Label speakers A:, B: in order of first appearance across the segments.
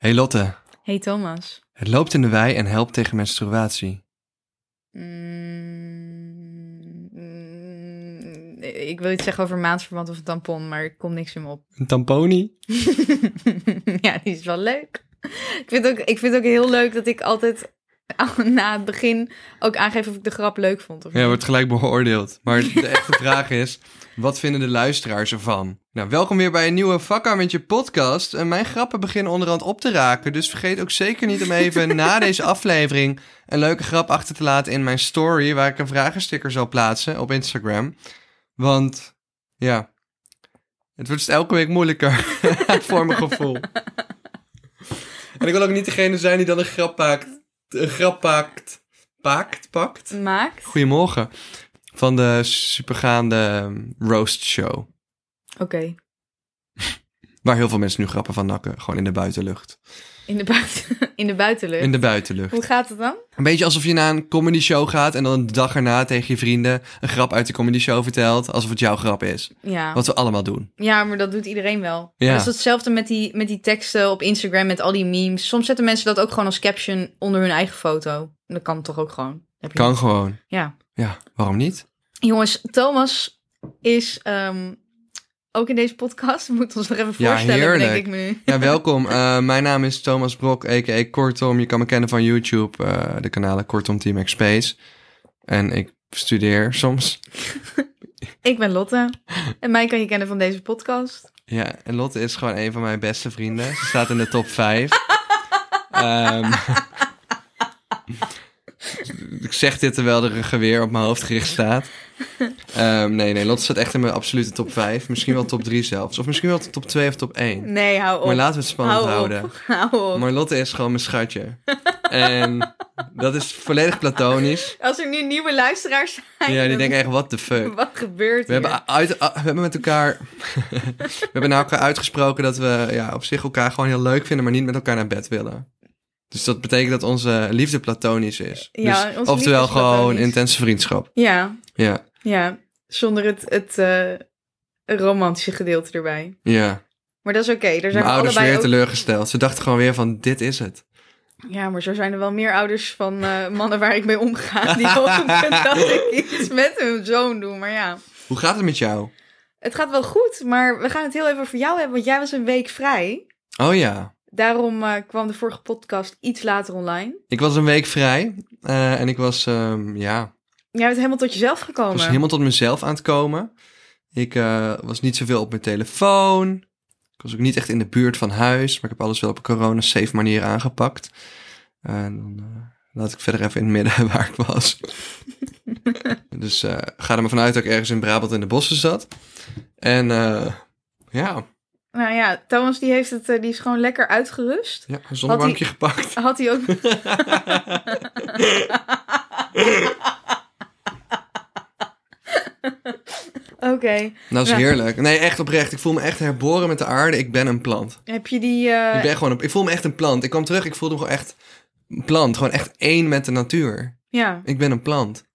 A: Hey Lotte,
B: Hey Thomas.
A: het loopt in de wei en helpt tegen menstruatie.
B: Mm, mm, ik wil iets zeggen over maandverband of een tampon, maar ik kom niks in me op.
A: Een tamponie?
B: ja, die is wel leuk. Ik vind, ook, ik vind ook heel leuk dat ik altijd al na het begin ook aangeef of ik de grap leuk vond. Of
A: Ja,
B: niet.
A: wordt gelijk beoordeeld. Maar de echte vraag is, wat vinden de luisteraars ervan? Nou, welkom weer bij een nieuwe Vakka met je podcast. En mijn grappen beginnen onderhand op te raken. Dus vergeet ook zeker niet om even na deze aflevering een leuke grap achter te laten in mijn story... waar ik een vragensticker zal plaatsen op Instagram. Want, ja, het wordt dus elke week moeilijker voor mijn gevoel. En ik wil ook niet degene zijn die dan een grap paakt... Een grap paakt... Paakt, pakt?
B: Maakt.
A: Goedemorgen. Van de supergaande ehm, roast show.
B: Oké,
A: Waar heel veel mensen nu grappen van nakken. Gewoon in de buitenlucht.
B: in de, buiten, in de buitenlucht.
A: In de buitenlucht.
B: Hoe gaat het dan?
A: Een beetje alsof je naar een comedy show gaat en dan de dag erna tegen je vrienden een grap uit de comedy show vertelt. Alsof het jouw grap is.
B: Ja.
A: Wat we allemaal doen.
B: Ja, maar dat doet iedereen wel.
A: Ja.
B: Dat is hetzelfde met die, met die teksten op Instagram, met al die memes. Soms zetten mensen dat ook gewoon als caption onder hun eigen foto. En dat kan toch ook gewoon? Heb je-
A: Kan gewoon.
B: Ja.
A: Ja, waarom niet?
B: Jongens, Thomas is ehm, ook in deze podcast. We moeten ons nog even
A: Ja,
B: voorstellen,
A: heerlijk.
B: denk ik me nu.
A: Ja, welkom. Eh, mijn naam is Thomas Brok, a.k.a. Kortom. Je kan me kennen van YouTube, eh, de kanalen Kortom Team X Space. En ik studeer soms.
B: Ik ben Lotte. En mij kan je kennen van deze podcast.
A: Ja, en Lotte is gewoon een van mijn beste vrienden. Ze staat in de top 5. Ehm, ik zeg dit terwijl er een geweer op mijn hoofd gericht staat. Ehm, nee, nee, Lotte staat echt in mijn absolute top 5. Misschien wel top 3 zelfs. Of misschien wel top 2 of top 1.
B: Nee, hou op.
A: Maar laten we het spannend
B: hou
A: houden.
B: Op. Hou op.
A: Maar Lotte is gewoon mijn schatje. En dat is volledig platonisch.
B: Als er nu nieuwe luisteraars zijn,
A: Ja, die
B: dan-
A: denken echt, what the fuck.
B: wat gebeurt
A: We
B: hier?
A: hebben, uit, a- we hebben met elkaar. we hebben naar elkaar uitgesproken dat we ja, op zich elkaar gewoon heel leuk vinden, maar niet met elkaar naar bed willen. Dus dat betekent dat onze liefde platonisch is.
B: Ja,
A: dus,
B: onze
A: oftewel
B: liefde is
A: gewoon
B: platonisch.
A: intense vriendschap.
B: Ja,
A: Ja,
B: Ja, zonder het, het eh, romantische gedeelte erbij.
A: ja.
B: Maar dat is oké. Er zijn
A: Mijn
B: we
A: ouders weer
B: allebei ook...
A: teleurgesteld. Ze dachten gewoon weer van, dit is het.
B: Ja, maar zo zijn er wel meer ouders van eh, mannen waar ik mee omga. Die hopen dat ik iets met hun zoon doe. Maar ja,
A: Hoe gaat het met jou?
B: het gaat wel goed. Maar we gaan het heel even voor jou hebben. Want jij was een week vrij.
A: Oh ja,
B: Daarom eh, kwam de vorige podcast iets later online.
A: ik was een week vrij eh, en ik was, ehm, ja,
B: Jij bent helemaal tot jezelf
A: Ik
B: gekomen.
A: was helemaal tot mezelf aan het komen. Ik eh, was niet zoveel op mijn telefoon. Ik was ook niet echt in de buurt van huis. Maar ik heb alles wel op een corona-safe manier aangepakt. En dan eh, laat ik verder even in het midden waar ik was. dus eh, ga er maar vanuit dat ik ergens in Brabant in de bossen zat. En eh, ja,
B: Nou ja, Thomas die, heeft het, eh, die is gewoon lekker uitgerust.
A: ja een zonnebankje gepakt.
B: Had hij ook... Oké.
A: Dat is
B: Ja.
A: heerlijk. Nee, echt oprecht. Ik voel me echt herboren met de aarde. Ik ben een plant.
B: Heb je die... eh,
A: Ik ben gewoon een- ik voel me echt een plant. Ik kwam terug, ik voelde me gewoon echt een plant. Gewoon echt één met de natuur.
B: Ja.
A: Ik ben een plant.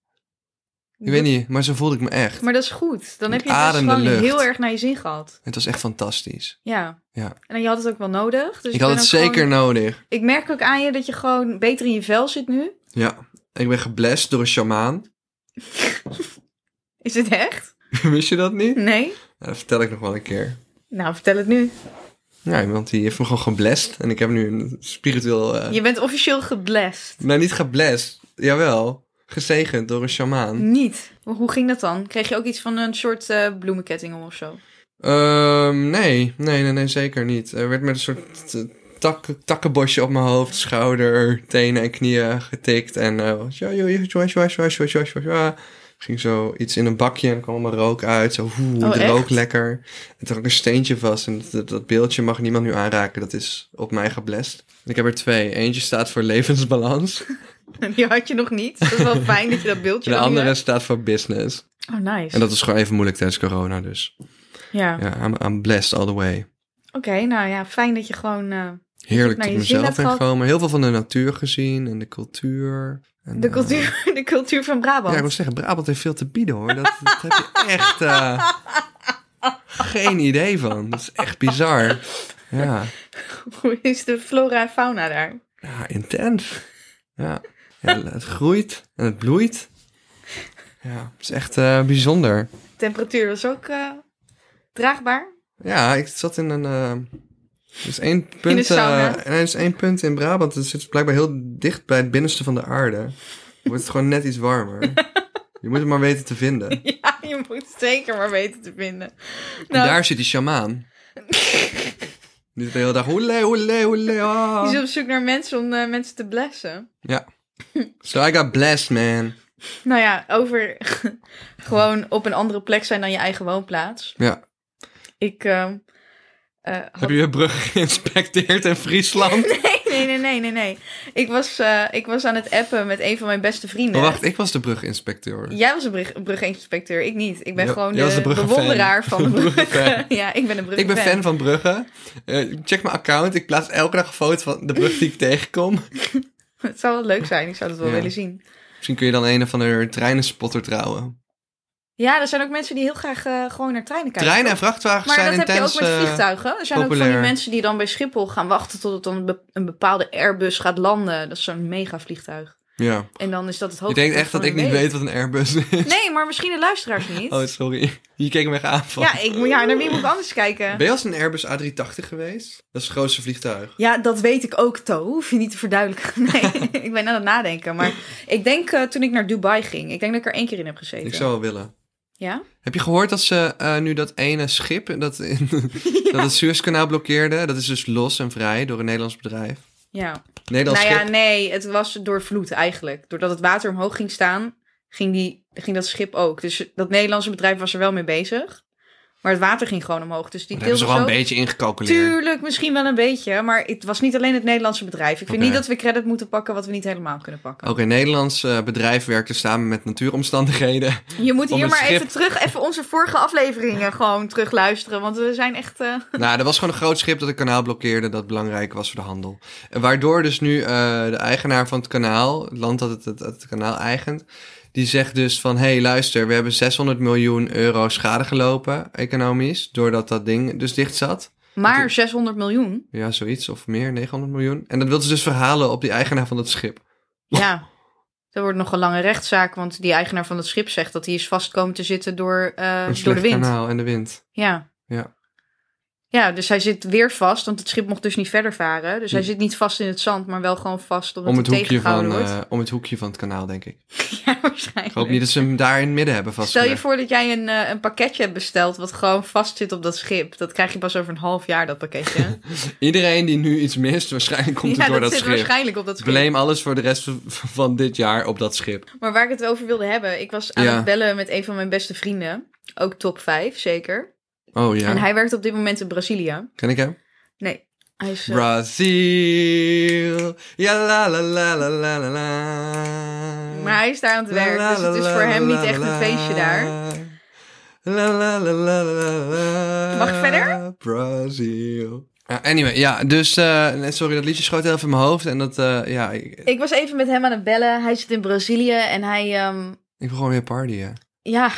A: Ik weet niet, maar zo voelde ik me echt.
B: Dus- Maar dat is goed. Dan heb je het dus
A: Adem de
B: gewoon
A: lucht.
B: heel erg naar je zin gehad.
A: Het was echt fantastisch.
B: Ja.
A: Ja.
B: En dan- je had het ook wel nodig. Dus
A: ik had
B: ben
A: het
B: ook
A: zeker
B: gewoon-
A: nodig.
B: Ik merk ook aan je dat je gewoon beter in je vel zit nu.
A: Ja. Ik ben geblest door een sjamaan.
B: Is het echt?
A: Wist je dat niet?
B: Nee?
A: Nou, dat vertel ik nog wel een keer.
B: Nou, vertel het nu.
A: Ja, iemand die heeft me gewoon geblest. En ik heb nu een spiritueel... eh,
B: Je bent officieel geblest.
A: Nou, niet geblest. Jawel. Gezegend door een sjamaan.
B: Niet. Maar hoe ging dat dan? Kreeg je ook iets van een soort eh, bloemenketting om of zo?
A: Ehm, nee. nee, nee, nee, zeker niet. Er werd met een soort eh, tak, takkenbosje op mijn hoofd, schouder, tenen en knieën getikt. En eh, tja, joe, joe, tja, tja, tja, tja, tja, tja, tja. ging zo iets in een bakje en kwam allemaal rook uit. Zo, hoe,
B: Oh,
A: de
B: echt?
A: rook lekker. En toen had ik een steentje vast en dat, dat beeldje mag niemand nu aanraken. Dat is op mij geblest. Ik heb er twee. Eentje staat voor levensbalans.
B: Die had je nog niet. Dus Dat is wel fijn dat je dat beeldje
A: En de
B: dan nu
A: andere
B: hebt.
A: staat voor business.
B: Oh, nice.
A: En dat is gewoon even moeilijk tijdens corona, dus.
B: Oh. Ja.
A: Ja, I'm, I'm blessed all the way.
B: Oké, nou ja, fijn dat je gewoon eh,
A: Heerlijk
B: Nou,
A: tot
B: je zin
A: mezelf
B: hebt
A: ben
B: gehad.
A: gekomen. Heel veel van de natuur gezien en de cultuur. En,
B: de,
A: eh,
B: cultuur, de cultuur van Brabant.
A: ja, ik wil zeggen, Brabant heeft veel te bieden hoor. Dat, dat heb je echt eh, geen idee van. Dat is echt bizar. Ja,
B: Hoe is de flora en fauna daar?
A: ja intens. Ja. ja, het groeit en het bloeit. Ja, het is echt eh, bijzonder.
B: Temperatuur was ook eh, draagbaar.
A: Ja, ik zat in een. eh, er is één punt.
B: de sauna.
A: eh, er is één punt in Brabant. Het zit blijkbaar heel dicht bij het binnenste van de aarde. Dan Wordt het gewoon net iets warmer. Je moet het maar weten te vinden.
B: Ja, je moet het zeker maar weten te vinden.
A: En
B: Nou,
A: daar zit die shamaan. Die zit de hele dag. Hoele, hoele, hoele.
B: die
A: ah.
B: is op zoek naar mensen om eh, mensen te blessen.
A: Ja. So I got blessed, man.
B: Nou ja, over gewoon op een andere plek zijn dan je eigen woonplaats.
A: Ja.
B: Ik ehm, eh, had
A: Heb je een brug geïnspecteerd in Friesland?
B: Nee, nee, nee, nee, nee. Ik was, eh, ik was aan het appen met een van mijn beste vrienden.
A: Oh, wacht, ik was de bruginspecteur.
B: Jij was een brug, bruginspecteur, ik niet. Ik ben
A: Ja, jij
B: gewoon de,
A: was de bruggenfan.
B: bewonderaar van de bruggen.
A: Bruggenfan.
B: ja, ik ben een bruggen.
A: Ik ben fan van bruggen. Eh, check mijn account. Ik plaats elke dag een foto van de brug die ik tegenkom.
B: Het zou wel leuk zijn, ik zou dat wel
A: Ja.
B: willen zien.
A: Misschien kun je dan een of andere treinenspotter trouwen.
B: Ja, er zijn ook mensen die heel graag eh, gewoon naar treinen kijken.
A: Treinen en vrachtwagens
B: maar
A: zijn
B: dat heb je
A: intens...
B: ook met
A: eh,
B: vliegtuigen. Er zijn ook van
A: populair.
B: die mensen die dan bij Schiphol gaan wachten tot het dan een be- een bepaalde Airbus gaat landen. Dat is zo'n mega vliegtuig.
A: ja.
B: En dan is dat het
A: Je
B: hoogtepunt
A: denkt echt
B: van
A: dat ik
B: de
A: niet
B: week.
A: weet wat een Airbus is.
B: Nee, maar misschien de luisteraars niet.
A: Oh, sorry. Je keek me echt aan van...
B: ja, ik moet ja, naar wie moet ik anders kijken?
A: Ben je als een Airbus A380 geweest? Dat is het grootste vliegtuig.
B: Ja, dat weet ik ook, To. Hoef je niet te verduidelijken. Nee, ik ben aan het nadenken. Maar ik denk eh, toen ik naar Dubai ging, ik denk dat ik er één keer in heb gezeten.
A: Ik zou wel willen.
B: Ja?
A: Heb je gehoord dat ze eh, nu dat ene schip dat, in, dat het Suezkanaal blokkeerde? Dat is dus los en vrij door een Nederlands bedrijf.
B: Ja.
A: Nederlands
B: nou ja,
A: schip.
B: nee, het was door vloed eigenlijk. Doordat het water omhoog ging staan, ging, die, ging dat schip ook. Dus dat Nederlandse bedrijf was er wel mee bezig. Maar het water ging gewoon omhoog. Dus die
A: Daar hebben ze
B: deelde
A: gewoon
B: zo.
A: een beetje ingecalculeerd.
B: Tuurlijk, misschien wel een beetje. Maar het was niet alleen het Nederlandse bedrijf. Ik vind
A: Oké.
B: niet dat we credit moeten pakken wat we niet helemaal kunnen pakken.
A: Ook een Nederlands eh, bedrijf werkte samen met natuuromstandigheden.
B: Je moet
A: Om
B: hier
A: het
B: maar
A: schip-
B: even terug, even onze vorige afleveringen gewoon terugluisteren. Want we zijn echt. eh,
A: nou, er was gewoon een groot schip dat het kanaal blokkeerde dat belangrijk was voor de handel. En waardoor dus nu eh, de eigenaar van het kanaal, het land dat het, het, het kanaal eigent, die zegt dus van, hé hey, luister, we hebben 600 miljoen euro schade gelopen, economisch, doordat dat ding dus dicht zat.
B: Maar 600 miljoen.
A: Ja, zoiets, of meer, 900 miljoen. En dat wil ze dus verhalen op die eigenaar van dat schip.
B: Eh, Ja. Er wordt nog een lange rechtszaak, want die eigenaar van het schip zegt dat hij is vast komen te zitten door, eh,
A: Een
B: door
A: slecht
B: de wind.
A: kanaal en de wind.
B: Ja.
A: Ja.
B: Ja, dus hij zit weer vast, want het schip mocht dus niet verder varen. Dus hij zit niet vast in het zand, maar wel gewoon vast omdat
A: Hm. Om het,
B: hij
A: hoekje van,
B: tegengehouden wordt.
A: eh, om het hoekje van het kanaal, denk ik.
B: ja, waarschijnlijk.
A: Ik hoop niet dat ze hem daar in het midden hebben
B: Stel
A: vastgelegd.
B: je voor dat jij een, eh, een pakketje hebt besteld wat gewoon vast zit op dat schip. Dat krijg je pas over een half jaar, dat pakketje.
A: Iedereen die nu iets mist, waarschijnlijk komt
B: ja,
A: het door
B: dat
A: dat,
B: zit
A: schip.
B: waarschijnlijk op dat schip.
A: Blame alles voor de rest van- van dit jaar op dat schip.
B: Maar waar ik het over wilde hebben, ik was aan
A: Ja.
B: het bellen met een van mijn beste vrienden. Ook top 5, zeker.
A: Oh ja,
B: En hij werkt op dit moment in Brazilië.
A: ken ik hem?
B: Nee, hij is. eh,
A: Brazil, ja la la la la la la la.
B: maar hij is daar aan het werk,
A: La, la,
B: dus het is
A: la,
B: voor
A: la,
B: hem
A: la,
B: niet echt
A: la,
B: een feestje
A: la.
B: daar.
A: La la la la la la.
B: Mag ik verder?
A: Brazil. Ah, anyway, ja, dus eh, nee, sorry, dat liedje schoot heel even in mijn hoofd en dat, eh, ja, ik, ik
B: Ik was even met hem aan het bellen. Hij zit in Brazilië en hij. ehm,
A: wil gewoon weer partyen.
B: ja.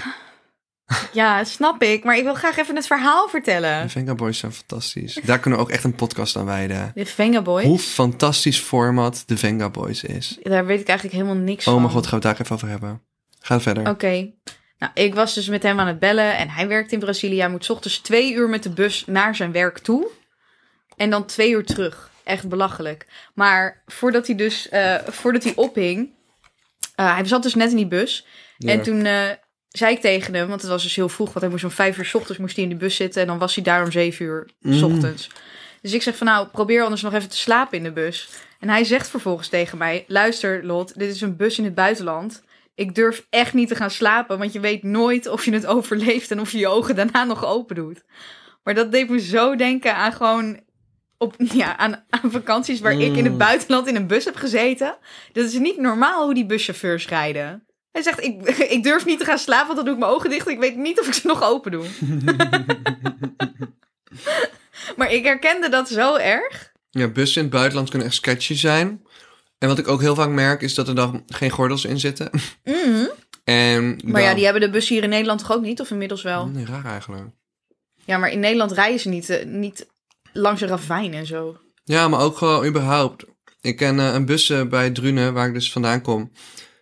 B: Ja, snap ik. Maar ik wil graag even het verhaal
A: De
B: vertellen.
A: Venga Boys zijn fantastisch. Daar kunnen we ook echt een podcast aan wijden.
B: De Venga Boys.
A: Hoe fantastisch format de Venga Boys is.
B: Daar weet ik eigenlijk helemaal niks van.
A: Oh mijn god, gaan we het daar even over hebben. Ga verder.
B: Oké. Nou, ik was dus met hem aan het bellen en hij werkt in Brazilië. Hij moet 's ochtends twee uur met de bus naar zijn werk toe. En dan twee uur terug. Echt belachelijk. Maar voordat hij dus, eh, voordat hij ophing, eh, hij zat dus net in die bus.
A: Ja.
B: En toen eh, zei ik tegen hem, want het was dus heel vroeg, want hij moest om vijf uur 's ochtends moest hij in de bus zitten. En dan was hij daar om zeven uur 's
A: Mm.
B: ochtends. Dus ik zeg van nou, probeer anders nog even te slapen in de bus. En hij zegt vervolgens tegen mij, luister Lot, dit is een bus in het buitenland. Ik durf echt niet te gaan slapen, want je weet nooit of je het overleeft en of je je ogen daarna nog open doet. Maar dat deed me zo denken aan gewoon op, ja, aan, aan vakanties waar ik in het
A: Mm.
B: buitenland in een bus heb gezeten. Dat is niet normaal hoe die buschauffeurs rijden. Hij zegt, ik, ik durf niet te gaan slapen, want dan doe ik mijn ogen dicht. Ik weet niet of ik ze nog open doe. maar ik herkende dat zo erg.
A: Ja, bussen in het buitenland kunnen echt sketchy zijn. En wat ik ook heel vaak merk is dat er dan geen gordels in zitten.
B: Mhm.
A: En
B: Maar ja,
A: dan-
B: die hebben de bussen hier in Nederland toch ook niet? Of inmiddels wel?
A: Nee, raar eigenlijk.
B: Ja, maar in Nederland rijden ze niet, eh, niet langs een ravijn en zo.
A: Ja, maar ook gewoon überhaupt. Ik ken eh, een bus eh, bij Drunen, waar ik dus vandaan kom.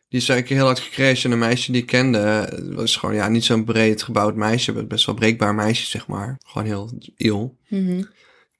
A: Die is een keer heel hard gecrashed en een meisje die ik kende, eh, was gewoon ja, niet zo'n breed gebouwd meisje, maar best wel breekbaar meisje, zeg maar. Gewoon heel iel.
B: Mhm.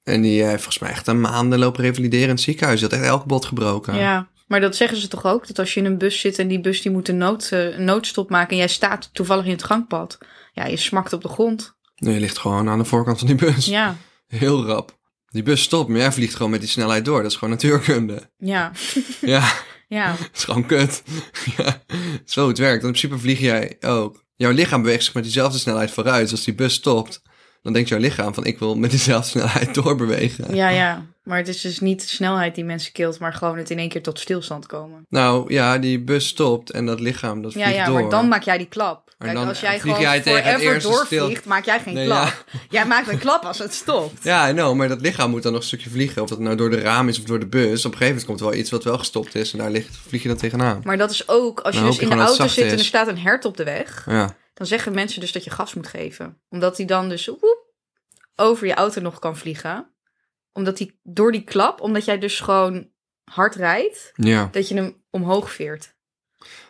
A: En die eh, heeft volgens mij echt een maanden lopen revalideren in het ziekenhuis. Die had echt elk bot gebroken.
B: Ja. maar dat zeggen ze toch ook? Dat als je in een bus zit en die bus die moet een, nood, eh, een noodstop maken en jij staat toevallig in het gangpad. Ja, je smakt op de grond.
A: Nee, je ligt gewoon aan de voorkant van die bus.
B: Ja,
A: Heel rap. Die bus stopt, maar jij vliegt gewoon met die snelheid door. Dat is gewoon natuurkunde.
B: ja,
A: ja.
B: ja.
A: Dat is gewoon kut. ja, zo het werkt. Want in principe vlieg jij ook. Jouw lichaam beweegt zich met diezelfde snelheid vooruit. Dus als die bus stopt, dan denkt jouw lichaam van ik wil met diezelfde snelheid doorbewegen.
B: Ja, ja. Maar het is dus niet de snelheid die mensen kilt, maar gewoon het in één keer tot stilstand komen.
A: Nou ja, die bus stopt en dat lichaam dat vliegt
B: Ja, ja,
A: door.
B: maar dan maak jij die klap.
A: Maar
B: Kijk,
A: dan
B: als jij
A: vlieg
B: gewoon
A: jij tegen het
B: forever
A: eerste
B: doorvliegt,
A: stil-
B: maak jij geen
A: Nee,
B: klap. Jij maakt een klap als het stopt.
A: Ja, I know, maar dat lichaam moet dan nog een stukje vliegen. Of dat nou door de raam is of door de bus. Op een gegeven moment komt wel iets wat wel gestopt is en daar ligt, vlieg je dan tegenaan.
B: Maar dat is ook, als je
A: Dan
B: dus
A: hoop je
B: in de
A: gewoon dat het
B: auto
A: zacht
B: zit en
A: is.
B: er staat een hert op de weg,
A: Ja,
B: dan zeggen mensen dus dat je gas moet geven. Omdat die dan dus woep, over je auto nog kan vliegen. Omdat die, door die klap, omdat jij dus gewoon hard rijdt,
A: ja.
B: dat je hem omhoog veert.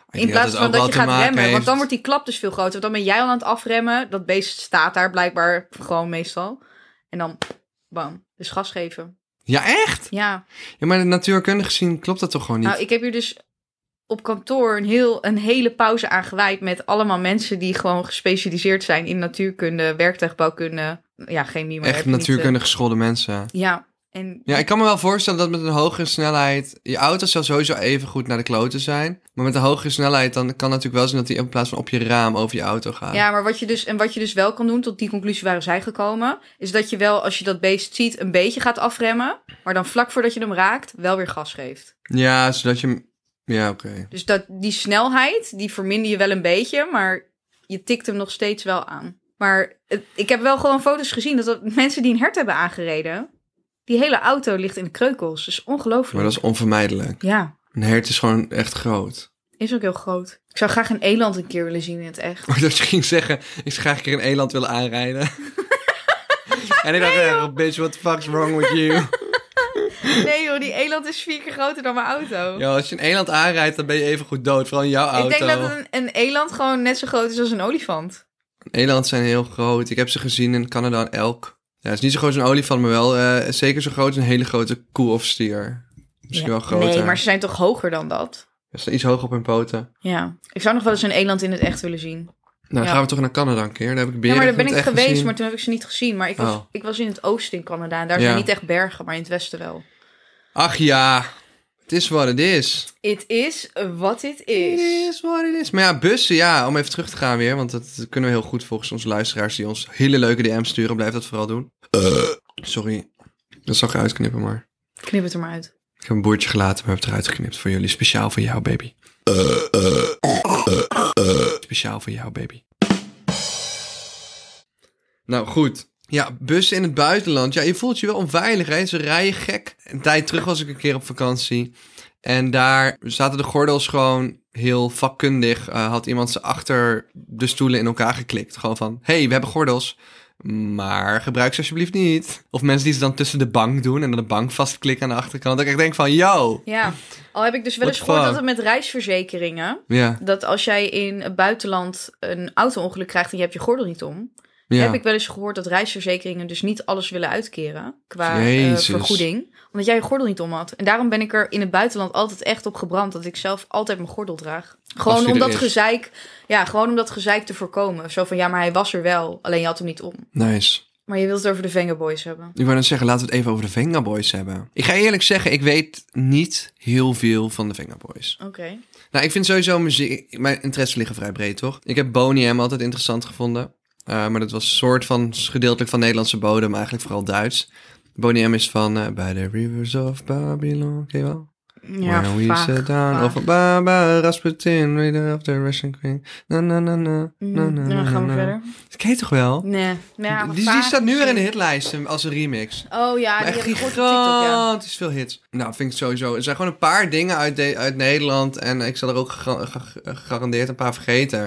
A: Ik
B: in
A: denk
B: plaats
A: het
B: van
A: ook
B: dat
A: wel
B: je
A: te
B: gaat
A: maken
B: remmen. Want
A: heeft-
B: dan wordt die klap dus veel groter. Want dan ben jij al aan het afremmen. Dat beest staat daar blijkbaar gewoon meestal. En dan bam. Dus gas geven.
A: Ja, echt?
B: Ja.
A: Ja, maar natuurkundig gezien klopt dat toch gewoon niet?
B: Nou, ik heb hier dus op kantoor een, heel, een hele pauze aan gewijd. Met allemaal mensen die gewoon gespecialiseerd zijn in natuurkunde, werktuigbouwkunde. Ja, chemie, maar
A: echt
B: heb je niet, eh,
A: natuurkundig geschoolde mensen.
B: Ja. En
A: Ja, ik kan me wel voorstellen dat met een hogere snelheid... Je auto zal sowieso even goed naar de kloten zijn. Maar met een hogere snelheid dan kan het natuurlijk wel zijn... dat die in plaats van op je raam over je auto gaat.
B: Ja, maar wat je dus, en wat je dus wel kan doen, tot die conclusie waren zij gekomen, is dat je wel, als je dat beest ziet, een beetje gaat afremmen, maar dan vlak voordat je hem raakt, wel weer gas geeft.
A: Ja, zodat je... hem- Ja, oké.
B: Dus dat, die snelheid, die verminder je wel een beetje, maar je tikt hem nog steeds wel aan. Maar het- ik heb wel gewoon foto's gezien dat, dat mensen die een hert hebben aangereden, die hele auto ligt in de kreukels. Dat is ongelooflijk.
A: Maar dat is onvermijdelijk.
B: Ja,
A: Een hert is gewoon echt groot.
B: is ook heel groot. Ik zou graag een eland een keer willen zien in het echt.
A: Maar dat je ging zeggen... Ik zou graag een keer een eland willen aanrijden. en ik dacht, eh, bitch, what the fuck's wrong with you?
B: Nee joh, die eland is vier keer groter dan mijn auto.
A: Ja, als je een eland aanrijdt, dan ben je even goed dood. Vooral in jouw auto.
B: Ik denk dat een, een eland gewoon net zo groot is als een olifant.
A: Eland zijn heel groot. Ik heb ze gezien in Canada, een elk. Ja, het is niet zo groot als een olifant, maar wel eh, zeker zo groot als een hele grote koe of stier. Misschien wel groter.
B: Nee, maar ze zijn toch hoger dan dat?
A: Ze staan iets hoog op hun poten.
B: Ja. Ik zou nog wel eens een eland in het echt willen zien.
A: Nou, dan
B: Ja.
A: gaan we toch naar Canada een keer. Daar heb ik
B: Ja,
A: beren
B: maar daar
A: in
B: ben
A: het
B: ik
A: echt
B: geweest,
A: gezien.
B: maar toen heb ik ze niet gezien. Maar ik was,
A: Oh.
B: ik was in het oosten in Canada en daar
A: Ja.
B: zijn niet echt bergen, maar in het westen wel.
A: Ach ja, het is wat het is.
B: Het is wat het
A: Het
B: is.
A: is wat het is. Maar ja, bussen, ja, om even terug te gaan weer. Want dat kunnen we heel goed volgens onze luisteraars die ons hele leuke DM's sturen. Blijf dat vooral doen. Sorry, dat zal ik uitknippen, maar...
B: Knip het er maar uit.
A: Ik heb een boertje gelaten, maar heb het eruit geknipt voor jullie. Speciaal voor jou, baby. Speciaal voor jou, baby. Nou, goed. Ja, bussen in het buitenland. Ja, je voelt je wel onveilig, hè? Ze rijden gek. Een tijd terug was ik een keer op vakantie. En daar zaten de gordels gewoon heel vakkundig. Eh, had iemand ze achter de stoelen in elkaar geklikt. Gewoon van, hey, we hebben gordels. Maar gebruik ze alsjeblieft niet. Of mensen die ze dan tussen de bank doen en dan de bank vastklikken aan de achterkant. Dat ik echt denk van, yo.
B: Ja, al heb ik dus wel
A: What
B: eens gehoord
A: fuck?
B: dat het met reisverzekeringen...
A: Ja,
B: dat als jij in het buitenland een auto-ongeluk krijgt en je hebt je gordel niet om...
A: ja.
B: heb ik wel eens gehoord dat reisverzekeringen dus niet alles willen uitkeren qua eh,
A: Jezus.
B: vergoeding. Omdat jij je gordel niet om had. En daarom ben ik er in het buitenland altijd echt op gebrand dat ik zelf altijd mijn gordel draag.
A: Als
B: Gewoon
A: die
B: om
A: er
B: dat
A: is.
B: gezeik, ja, gewoon om dat gezeik te voorkomen. Zo van ja, maar hij was er wel, alleen je had hem niet om.
A: Nice.
B: Maar je wilt het over de Vengaboys hebben.
A: Ik wou net zeggen, laten we het even over de Vengaboys hebben. Ik ga eerlijk zeggen, ik weet niet heel veel van de Vengaboys.
B: Oké.
A: Nou, ik vind sowieso muziek... Mijn interesses liggen vrij breed, toch? Ik heb Boney M altijd interessant gevonden. Eh, maar dat was een soort van gedeeltelijk van Nederlandse bodem, eigenlijk vooral Duits. Boney M is van eh, By the Rivers of Babylon, ken je wel?
B: Ja,
A: When we
B: vaag,
A: sit down.
B: vaag.
A: Of Baba Rasputin, reader of the Russian Queen. Na na na na.
B: Mm,
A: na, na,
B: dan
A: na,
B: gaan we
A: na.
B: verder.
A: Dat ken je toch wel?
B: Nee. maar ja,
A: die,
B: vaag
A: die staat nu weer in de
B: misschien.
A: hitlijsten als een remix.
B: Oh ja,
A: Maar
B: die
A: echt
B: heb ik gehoord op TikTok, ja.
A: gigantisch veel hits. Nou, vind ik het sowieso. Er zijn gewoon een paar dingen uit, de- uit Nederland. En ik zal er ook gega- ge- gegarandeerd een paar vergeten.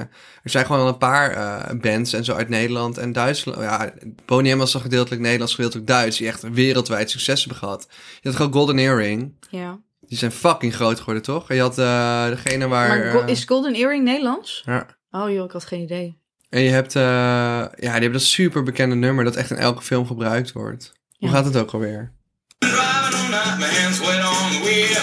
A: Er zijn gewoon al een paar eh, bands en zo uit Nederland en Duitsland. Ja, Boney M was dan gedeeltelijk Nederlands, gedeeltelijk Duits. Die echt wereldwijd succes hebben gehad. Je had gewoon Golden Earring.
B: ja.
A: Die zijn fucking groot geworden, toch? En je had eh, degene waar...
B: Maar go-
A: eh,
B: is Golden Earring Nederlands?
A: ja.
B: Oh joh, ik had geen idee.
A: En je hebt... eh, ja, die hebben dat super bekende nummer dat echt in elke film gebruikt wordt. Hoe
B: Ja.
A: gaat het ook alweer?
C: Driving all night, my hands wet on the wheel.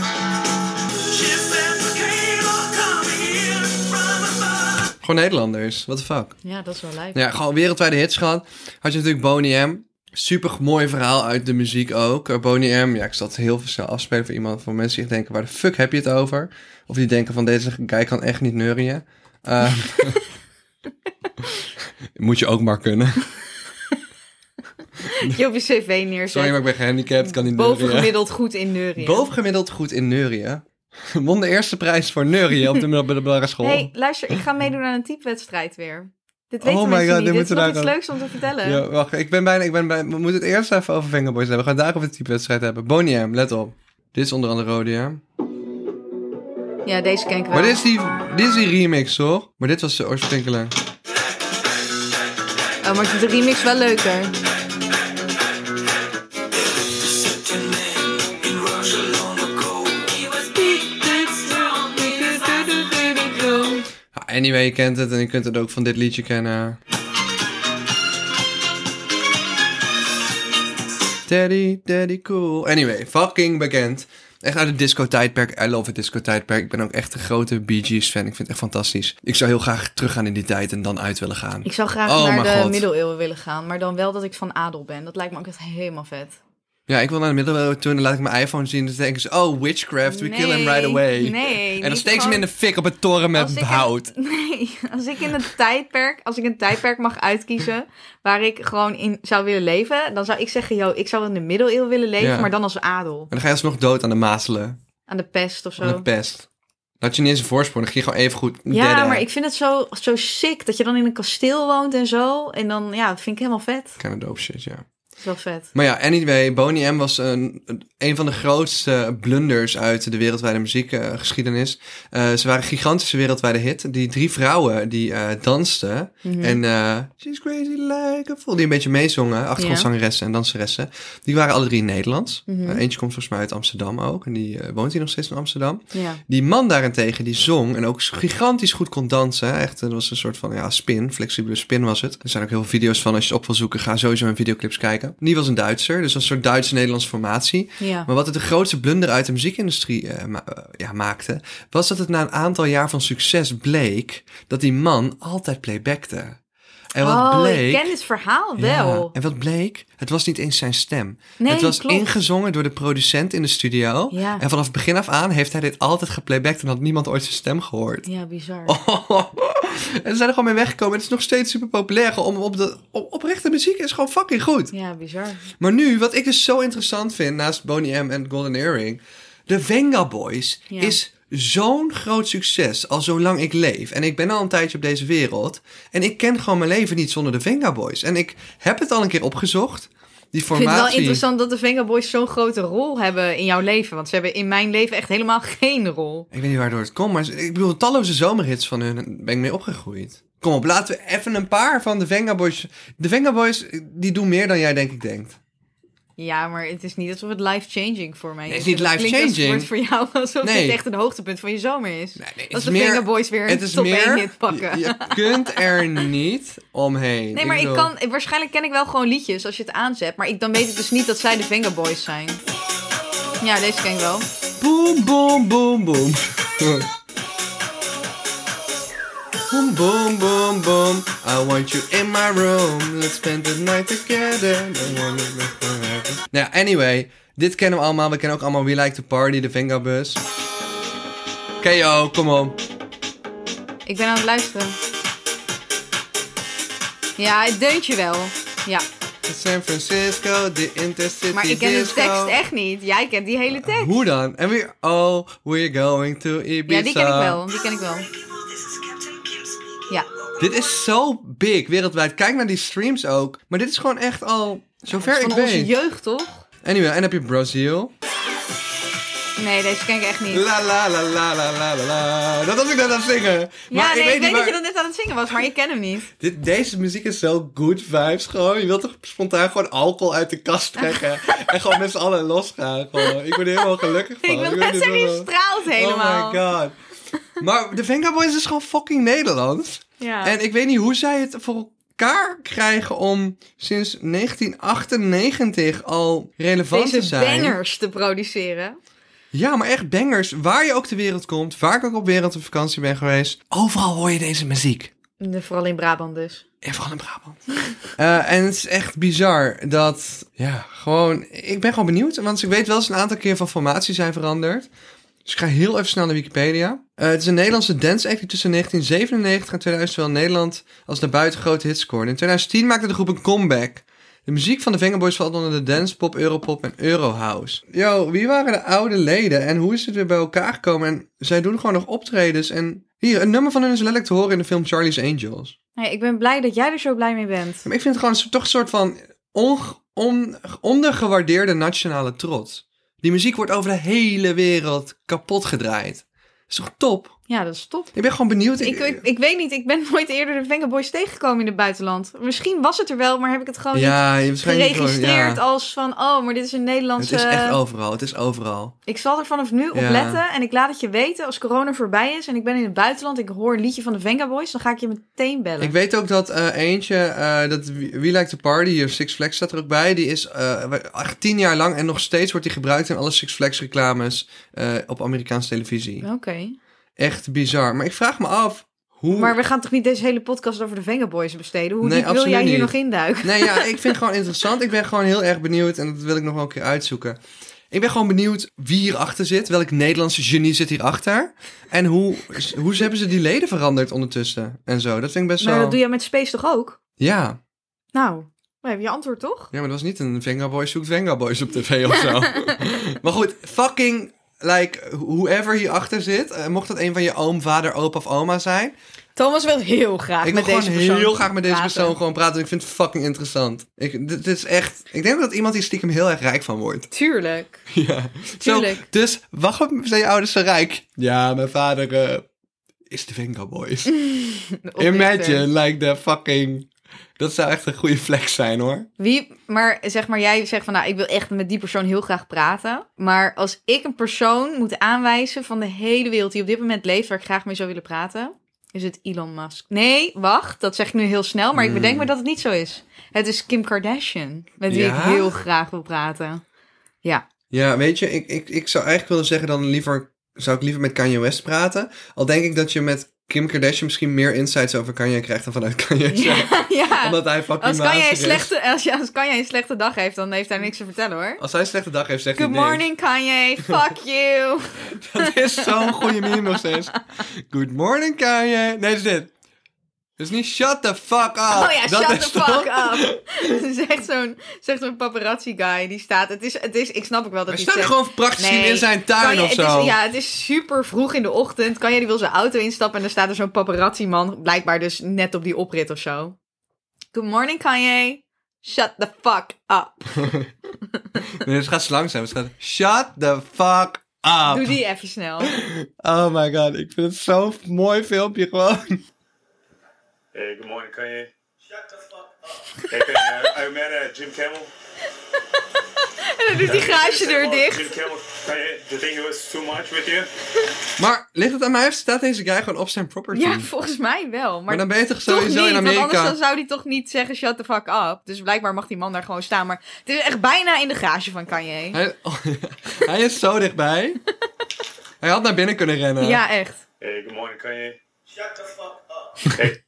C: She said the cable coming in from above.
A: Gewoon Nederlanders. What the fuck? Nou
B: Ja, dat is wel lijp.
A: Ja, gewoon wereldwijde hits gehad. Had je natuurlijk Boney M. Super mooi verhaal uit de muziek ook. Eh, Boney M. Ja, ik zal het heel snel afspelen voor iemand van mensen die echt denken: waar de fuck heb je het over? Of die denken van deze guy kan echt niet neurien. Eh, moet je ook maar kunnen.
B: Je op je cv neerzet.
A: Sorry, maar ik ben gehandicapt, kan niet neurien.
B: Bovengemiddeld goed in neurien.
A: Bovengemiddeld goed in neurien. Won de eerste prijs voor neurien op de middelbare school.
B: hey, luister, ik ga meedoen aan een typewedstrijd weer. Dit
A: Oh
B: weten
A: my
B: mensen
A: God,
B: niet.
A: dit
B: Dit is
A: moeten we
B: nog
A: daar
B: iets
A: ook-
B: leuks om te vertellen.
A: Ja, wacht, ik ben bijna, ik ben bijna, we moeten het eerst even over Fingerboys hebben. We gaan daarover een typewedstrijd hebben. Boney M, let op. Dit is onder andere Rodium.
B: Ja, deze ken ik wel.
A: Maar dit is, die, dit is die remix, hoor. Maar dit was de oorspronkelijke.
B: Oh, maar ik vind de remix wel leuker.
A: Ja, Anyway, je kent het en je kunt het ook van dit liedje kennen. Daddy, daddy cool. Anyway, fucking bekend. Echt uit het disco-tijdperk. I love het disco-tijdperk. Ik ben ook echt een grote Bee Gees-fan. Ik vind het echt fantastisch. Ik zou heel graag teruggaan in die tijd en dan uit willen gaan.
B: Ik zou graag
A: Oh,
B: naar
A: mijn
B: de
A: God.
B: middeleeuwen willen gaan, maar dan wel dat ik van adel ben. Dat lijkt me ook echt helemaal vet.
A: Ja, ik wil naar de middeleeuwen toe en dan laat ik mijn iPhone zien. Dan denken ze, oh, witchcraft, we kill him
B: Nee,
A: right away.
B: nee,
A: en dan
B: niet
A: steek ze hem in
B: gewoon-
A: de fik op een toren
B: Als
A: met
B: ik een-
A: hout.
B: Nee, als ik in een tijdperk, als ik een tijdperk mag uitkiezen waar ik gewoon in zou willen leven, dan zou ik zeggen, yo, ik zou in de middeleeuwen willen leven,
A: Ja.
B: maar dan als adel.
A: En dan ga je alsnog dood aan de mazelen.
B: Aan de pest of zo.
A: Van de pest. Dan had je niet eens een voorsprong, dan ging je gewoon even goed.
B: Oh. Ja, maar ik vind het zo, zo sick dat je dan in een kasteel woont en zo. En dan, ja, dat vind ik helemaal vet.
A: Kind of dope shit, ja.
B: Dat is wel vet.
A: Maar ja, anyway, Boney M was een, een van de grootste blunders uit de wereldwijde muziekgeschiedenis. Eh, ze waren een gigantische wereldwijde hit. Die drie vrouwen die eh, dansten
B: Mhm.
A: en eh, She's Crazy Like a Fool, die een beetje meezongen, achtergrondzangeressen en danseressen. Die waren alle drie Nederlands.
B: Mhm.
A: Eh, eentje komt volgens mij uit Amsterdam ook en die eh, woont hier nog steeds in Amsterdam.
B: Ja.
A: Die man daarentegen, die zong en ook gigantisch goed kon dansen. Echt, dat was een soort van ja, spin, flexibele spin was het. Er zijn ook heel veel video's van. Als je het op wil zoeken, ga sowieso hun videoclips kijken. Die was een Duitser, dus een soort Duits-Nederlandse formatie.
B: Ja.
A: Maar wat het de grootste blunder uit de muziekindustrie eh, ma- eh, ja, maakte... was dat het na een aantal jaar van succes bleek... dat die man altijd playbackte. En wat
B: oh,
A: bleek...
B: ik ken dit verhaal
A: Ja,
B: wel.
A: En wat bleek? Het was niet eens zijn stem.
B: Nee,
A: het was
B: klopt.
A: ingezongen door de producent in de studio.
B: Ja.
A: En vanaf begin af aan heeft hij dit altijd geplaybacked en had niemand ooit zijn stem gehoord.
B: Ja, bizar.
A: Oh. en ze zijn er gewoon mee weggekomen. Het is nog steeds super populair. Om, op de, op, oprechte muziek is gewoon fucking goed.
B: Ja, bizar.
A: Maar nu, wat ik dus zo interessant vind, naast Boney M en Golden Earring, de Venga Boys
B: Ja.
A: is zo'n groot succes al zolang ik leef. En ik ben al een tijdje op deze wereld. En ik ken gewoon mijn leven niet zonder de Venga Boys. En ik heb het al een keer opgezocht. Die
B: Ik vind het wel
A: formatie.
B: interessant dat de Venga Boys zo'n grote rol hebben in jouw leven. Want ze hebben in mijn leven echt helemaal geen rol.
A: Ik weet niet waardoor het komt, maar ik bedoel, talloze zomerhits van hun ben ik mee opgegroeid. Kom op, laten we even een paar van de Venga Boys. De Venga Boys, die doen meer dan jij denk ik denkt.
B: Ja, maar het is niet alsof het life-changing voor mij is.
A: Nee, het is niet
B: En dat klinkt
A: life-changing.
B: alsof het voor jou alsof
A: Nee.
B: dit echt een hoogtepunt van je zomer is.
A: Nee, nee, het
B: Als
A: is
B: de
A: meer-
B: Venga Boys weer een
A: het is
B: top
A: meer,
B: 1 hit pakken.
A: Je, je kunt er niet omheen.
B: Nee, maar ik
A: bedoel-
B: kan, ik- waarschijnlijk ken ik wel gewoon liedjes als je het aanzet. Maar ik, dan weet ik dus niet dat zij de Venga Boys zijn. Ja, deze ken ik wel.
A: Boom, boom, boom, boom. boom, boom, boom, boom. I want you in my room. Let's spend the night together. I want to live forever. Nou, ja, anyway. Dit kennen we allemaal. We kennen ook allemaal We Like to Party, de Vengabus. Ken je ook, kom op.
B: Ik ben aan het luisteren. Ja, het deuntje wel. Ja,
A: San Francisco, de Intercity
B: Maar ik ken de
A: disco.
B: tekst echt niet. Jij kent die hele tekst.
A: Hoe dan? En weer, oh, we're going to Ibiza.
B: Ja, die ken ik wel. Die ken ik wel.
C: People, this is Captain Kim speaking.
B: Ja.
A: Dit is zo big wereldwijd. Kijk naar die streams ook. Maar dit is gewoon echt al, zover
B: Van
A: ik
B: onze
A: weet.
B: jeugd, toch?
A: Anyway, en dan heb je Brazil.
B: Nee, deze ken ik echt niet.
A: La la la la la la la la. Dat was ik net aan het zingen.
B: Ja, nee, ik weet
A: niet
B: dat je
A: waar-
B: dat net aan het zingen was, maar je kent hem niet.
A: Dit, deze muziek is zo good vibes gewoon. Je wilt toch spontaan gewoon alcohol uit de kast trekken. en gewoon met z'n allen losgaan. Gewoon. Ik word er helemaal gelukkig van.
B: Ik wil
A: Oh, weet
B: net
A: niet
B: zeggen, je
A: waarom.
B: straalt
A: Oh
B: helemaal.
A: my god. Maar de Venga Boys is gewoon fucking Nederlands.
B: Ja.
A: En ik weet niet hoe zij het voor elkaar krijgen om sinds 1998 al relevant te
B: Deze
A: zijn.
B: bangers te produceren.
A: Ja, maar echt bangers. Waar je ook ter wereld komt, waar ik ook op wereld op vakantie ben geweest. Overal hoor je deze muziek.
B: Nee, Vooral in Brabant dus.
A: En vooral in Brabant. Eh, en het is echt bizar dat, ja, gewoon, ik ben gewoon benieuwd. Want ik weet wel eens een aantal keer van formatie zijn veranderd. Dus ik ga heel even snel naar Wikipedia. Eh, het is een Nederlandse dance act die tussen 1997 en 2000 zowel in Nederland als daarbuiten grote hits scoorde. In 2010 maakte de groep een comeback. De muziek van de Vengaboys valt onder de dancepop, europop en eurohouse. Yo, wie waren de oude leden en hoe is het weer bij elkaar gekomen? En zij doen gewoon nog optredens en... Hier, een nummer van hun is letterlijk te horen in de film Charlie's Angels.
B: Nee, Nou ik ben blij dat jij er zo blij mee bent.
A: Maar ik vind het gewoon een- toch een soort van onge- on- ondergewaardeerde nationale trots. Die muziek wordt over de hele wereld kapot gedraaid. Is toch top?
B: Ja, dat is top.
A: Ik ben gewoon benieuwd.
B: Ik, ik, ik weet niet, ik ben nooit eerder de Vengaboys tegengekomen in het buitenland. Misschien was het er wel, maar heb ik het gewoon niet
A: ja, je hebt waarschijnlijk gewoon-
B: geregistreerd eh,
A: ja.
B: als van... Oh, maar dit is een
A: Het
B: Nederlandse...
A: is echt overal. Het is overal.
B: Ik zal er vanaf nu op
A: Ja.
B: letten en ik laat het je weten als corona voorbij is en ik ben in het buitenland. Ik hoor een liedje van de Venga Boys, dan ga ik je meteen bellen.
A: Ik weet ook dat eh, eentje, eh, dat We We Like to Party, hier Six Flags staat er ook bij. Die is eh, echt tien jaar lang en nog steeds wordt die gebruikt in alle Six Flags reclames eh, op Amerikaanse televisie.
B: Oké.
A: Echt bizar. Maar ik vraag me af, hoe...
B: Maar we gaan toch niet deze hele podcast over de Venga Boys besteden? Hoe
A: Nee,
B: diep wil
A: absoluut
B: jij hier
A: niet.
B: nog induiken?
A: Nee, ja, ik vind het gewoon interessant. Ik ben gewoon heel erg benieuwd en dat wil ik nog wel een keer uitzoeken. Ik ben gewoon benieuwd wie hierachter zit. Welk Nederlandse genie zit hierachter? En hoe, hoe hebben ze die leden veranderd ondertussen? En zo, dat vind ik best
B: Maar
A: wel...
B: Nou, dat doe jij met Space toch ook?
A: Ja.
B: Nou, we hebben je antwoord toch?
A: ja, maar dat was niet een Vengaboy zoekt Vengaboys op tv of zo. maar goed, fucking... Like, whoever hierachter zit, eh, mocht dat een van je oom, vader, opa of oma zijn.
B: Thomas wil heel graag
A: ik wil
B: met
A: gewoon
B: deze persoon
A: heel graag met deze
B: praten.
A: persoon gewoon praten. Ik vind het fucking interessant. Ik, dit is echt, ik denk dat iemand hier stiekem heel erg rijk van wordt.
B: Tuurlijk.
A: Ja, Zo,
B: Tuurlijk.
A: dus waarom zijn je ouders zo rijk? Ja, mijn vader eh, is de Venga Boys. Imagine, like the fucking... Dat zou echt een goede flex zijn, hoor.
B: Wie, maar zeg maar, jij zegt van nou, ik wil echt met die persoon heel graag praten. Maar als ik een persoon moet aanwijzen van de hele wereld die op dit moment leeft, waar ik graag mee zou willen praten, is het Elon Musk. Nee, wacht, dat zeg ik nu heel snel, maar ik bedenk
A: Hmm.
B: me dat het niet zo is. Het is Kim Kardashian, met wie
A: Ja?
B: ik heel graag wil praten. Ja,
A: Ja, weet je, ik, ik, ik zou eigenlijk willen zeggen dan liever... Zou ik liever met Kanye West praten? Al denk ik dat je met Kim Kardashian misschien meer insights over Kanye krijgt dan vanuit Kanye zelf.
B: ja.
A: Omdat hij fucking
B: Als kan, jij
A: wazig
B: een
A: is.
B: slechte, als, je, als kan jij een slechte dag heeft, dan heeft hij niks te vertellen hoor.
A: Als hij een slechte dag heeft, zegt
B: Good
A: hij niks.
B: morning, Kanye. Fuck you.
A: Dat is zo'n goede meme nog steeds. Good morning, Kanye. Nee, dat is dit. Dat is niet shut the fuck up.
B: Oh ja,
A: Dat
B: shut
A: is
B: the
A: toch-
B: fuck up. Het is echt zo'n zegt zo'n paparazzi guy die staat. Het is, het is, ik snap ook wel dat
A: Hij
B: hij
A: staat er
B: zegt-
A: gewoon prachtig zien in zijn
B: Kan
A: tuin
B: je-
A: of
B: het
A: zo.
B: Is, ja, het is super vroeg in de ochtend. Kan jij die wil zijn auto instappen en dan staat er zo'n paparazzi man blijkbaar dus net op die oprit of zo. Good morning Kanye. Shut the fuck up.
A: Nee, het gaat langzaam. Het gaat shut the fuck up.
B: Doe die even snel.
A: Oh my god, ik vind het zo'n mooi filmpje gewoon.
D: Hey, good morning, Kanye.
E: Shut the fuck up.
D: Hey, Kanye, are you mad at Jim Campbell?
B: En dan doet die garagedeur dicht.
D: Jim Campbell, Kanye, do you think it was too much with you?
A: Maar ligt het aan mij of staat deze guy gewoon op zijn property?
B: Ja, volgens mij wel. Maar,
A: maar dan ben je toch
B: Toch niet,
A: sowieso in
B: want anders
A: Amerika.
B: dan zou hij toch niet zeggen shut the fuck up. Dus blijkbaar mag die man daar gewoon staan. Maar het is echt bijna in de garage van Kanye.
A: Hij, oh, ja. hij is zo dichtbij. hij had naar binnen kunnen rennen.
B: Ja, echt.
D: Hey, good morning, Kanye.
E: Shut the fuck up.
D: Hey,